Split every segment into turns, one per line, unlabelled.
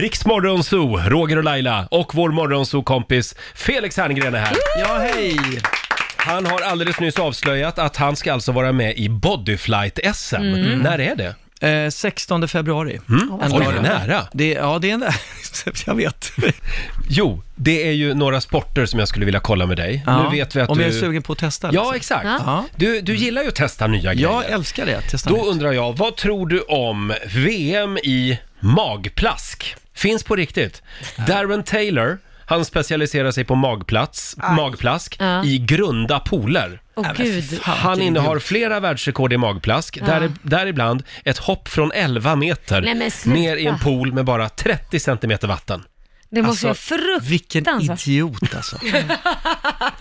Riksmorgon Zoo, Roger och Laila och vår morgonzoo-kompis Felix Herngren är här.
Ja, hej!
Han har alldeles nyss avslöjat att han ska alltså vara med i Bodyflight-SM.
Mm.
När är det?
Eh, 16 februari. En
Mm. Oj,
lördag.
nära.
Det, ja, det är en... jag vet.
Jo, det är ju några sporter som jag skulle vilja kolla med dig.
Ja,
Nu vet vi att
Om
du...
jag är sugen på att testa?
Ja,
liksom.
exakt.
Ja.
Du, du gillar ju att testa nya
Jag
grejer.
älskar det, testa
Då
nytt.
undrar jag, vad tror du om VM i magplask? Finns på riktigt. Darren Taylor, han specialiserar sig på magplats, magplask
Ja.
i grunda pooler.
Åh gud.
Fan,
Han
vilken
innehar
idiot.
flera världsrekord i magplask, där, däribland ett hopp från 11 meter
Nej, men sluta.
ner i en pool med bara 30 centimeter vatten.
Det måste vara
Alltså, Vilken
fruktansvärt.
idiot alltså.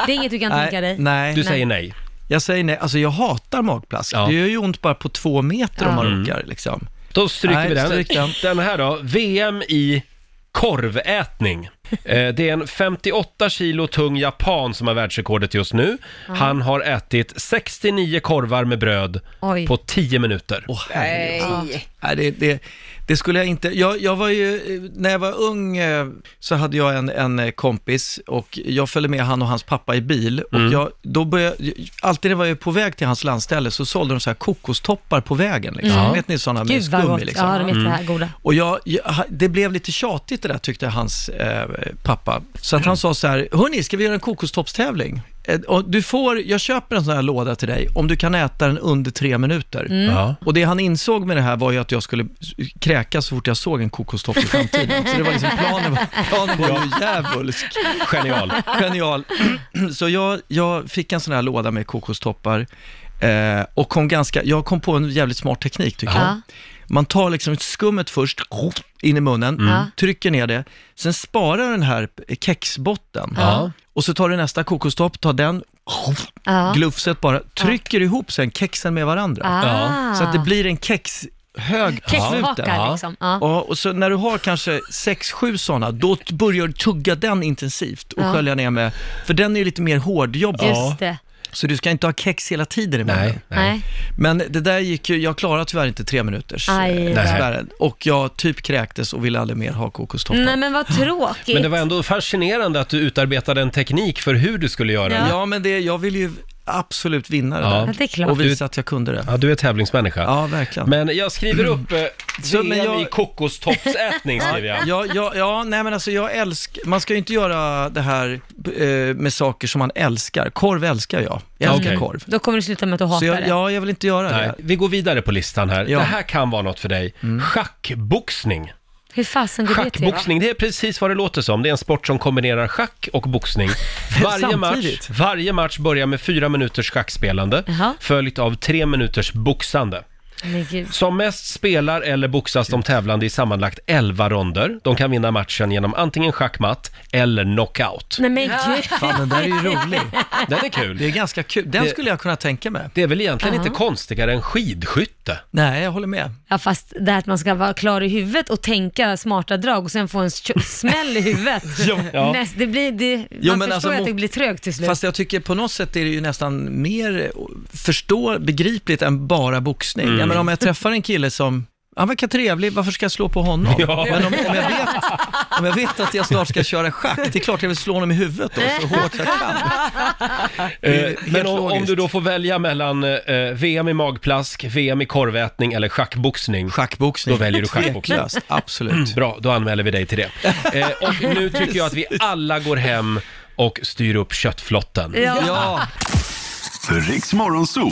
Det är inget du kan tänka dig.
nej, nej.
Du säger nej.
jag säger nej. Alltså jag hatar magplask.
Ja. Mm.
Det gör ju ont bara på två meter om
Ja.
man råkar liksom.
Då stryker
Nej,
vi den.
stryk
den.
den.
här då, VM i korvätning. Eh, Det är en 58 kilo tung japan som har världsrekordet just nu. Han har ätit 69 korvar med bröd
Oj.
på 10 minuter.
Åh herregud. Nej, det, det, det skulle jag inte. Jag, jag var ju, eh, när jag var ung eh, så hade jag en, en eh, kompis och jag följde med han och hans pappa i bil. Och jag, då började, alltid när jag var på väg till hans landställe så sålde de så här kokostoppar på vägen. Liksom. Vet ni sådana med
Mm. Gud vad gott.
skum i, liksom?
Ja, de är mm. goda.
Och jag, jag, det blev lite tjatigt det där tyckte hans eh, pappa. Så att han sa så här, hörni, ska vi göra en kokostoppstävling? Eh, och Du får, jag köper en sån här låda till dig om du kan äta den under tre minuter.
Mm.
Ja.
Och det han insåg med det här var ju att jag skulle kräkas så fort jag såg en kokostopp i framtiden. Så det var liksom planen, var- planen var ju djävulsk.
Genial.
Genial. Så jag, jag fick en sån här låda med kokostoppar eh, och kom ganska, jag kom på en jävligt smart teknik tycker
Ja.
jag. Man tar liksom skummet först, in i munnen,
Ja.
trycker ner det, sen sparar den här kexbotten
Ja.
och så tar du nästa kokostopp, tar den,
Ja.
glufset bara, trycker ihop sen kexen med varandra.
Ah.
Ja.
Så att det blir en kexhög på
Kexhakar
slutet.
Ja.
liksom. Ja.
Ja, och så när du har kanske sex sju sådana, då t- börjar du tugga den intensivt och
Ja.
skölja ner med, för den är ju lite mer hårdjobbig.
Just det.
Så du ska inte ha kex hela tiden i
Nej,
munnen.
nej.
Nej.
Men det där gick ju, jag klarade tyvärr inte tre minuters
Aj.
eh,
Nej.
spärren. Och jag typ kräktes och ville aldrig mer ha kokostoppar.
Nej men vad tråkigt.
Men det var ändå fascinerande att du utarbetade en teknik för hur du skulle göra
Ja.
det.
Ja, men det, jag ville ju absolut vinna det
Ja.
där.
Ja, det är klart.
Och visa att jag kunde det.
Ja, du är tävlingsmänniska.
Ja, verkligen.
Men jag skriver upp eh,
Så,
VM
men jag-
i kokostoppsätning skriver jag.
Ja, ja, ja, nej men alltså jag älskar, man ska ju inte göra det här eh, med saker som man älskar. Korv älskar jag. Jag
Ja,
älskar
okej.
korv.
Då kommer du sluta med att du hatar
Så jag,
det.
ja, jag vill inte göra
Nej,
det.
vi går vidare på listan här.
Ja.
Det här kan vara något för dig. Schackboxning.
Hur fasen går det till?
Schackboxning, det är precis vad det låter som. Det är en sport som kombinerar schack och boxning. Varje match,
Samtidigt.
varje match börjar med fyra minuters schackspelande,
Jaha.
följt av tre minuters boxande.
Men gud.
Som mest spelar eller boxas de tävlande i sammanlagt 11 ronder. De kan vinna matchen genom antingen schackmatt eller knockout.
Nej men gud.
Fan, den där är ju rolig.
Den är kul.
Det är ganska kul. Den
Det-
skulle jag kunna tänka mig.
Det är väl egentligen
Ja.
inte konstigare än skidskytte?
Nej, jag håller med.
Ja fast det här att man ska vara klar i huvudet och tänka smarta drag och sen få en tjo- smäll i huvudet.
ja.
Näst, det blir, det,
Jo, men
man förstår
alltså,
att
mot-
det blir trögt till slut.
Fast jag tycker på något sätt är det ju nästan mer eh, förstå, begripligt än bara boxning. Ja,
Mm.
men om jag träffar en kille som han verkar trevlig, varför ska jag slå på honom?
Ja.
Men om, om, jag vet, om jag vet att jag snart ska köra schack, det är klart jag vill slå honom i huvudet då, så hårt jag kan. Det är
Eh,
helt
Men om, om
logiskt.
du då får välja mellan eh, VM i magplask, VM i korvätning eller schackboxning.
Schackboxning.
Då väljer du schackboxning.
Tveklöst, absolut.
Bra, då anmäler vi dig till det. Eh, och nu tycker jag att vi alla går hem och styr upp köttflotten.
ja.
Ja,
Riks Morgonzoo.